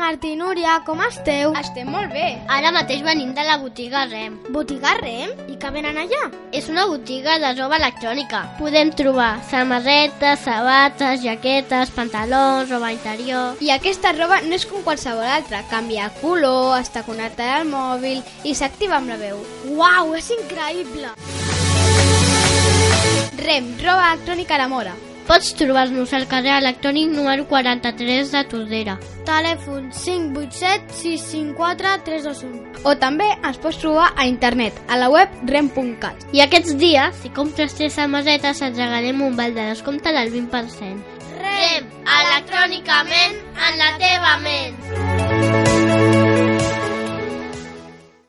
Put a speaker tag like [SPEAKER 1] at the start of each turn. [SPEAKER 1] Martí i Núria, com esteu?
[SPEAKER 2] Estem molt bé.
[SPEAKER 3] Ara mateix venim de la botiga Rem.
[SPEAKER 1] Botiga Rem? I què venen allà?
[SPEAKER 3] És una botiga de roba electrònica. Podem trobar samarretes, sabates, jaquetes, pantalons, roba interior...
[SPEAKER 2] I aquesta roba no és com qualsevol altra. Canvia color, està connectada al mòbil i s'activa amb la veu.
[SPEAKER 1] Uau, és increïble!
[SPEAKER 2] Rem, roba electrònica a la mora.
[SPEAKER 3] Pots trobar-nos al carrer electrònic número 43 de Tordera.
[SPEAKER 1] Telèfon 587 654 321.
[SPEAKER 2] O també ens pots trobar a internet, a la web rem.cat.
[SPEAKER 3] I aquests dies, si compres tres samarretes, et regalem un val de descompte del 20%.
[SPEAKER 4] Rem, electrònicament en la teva ment.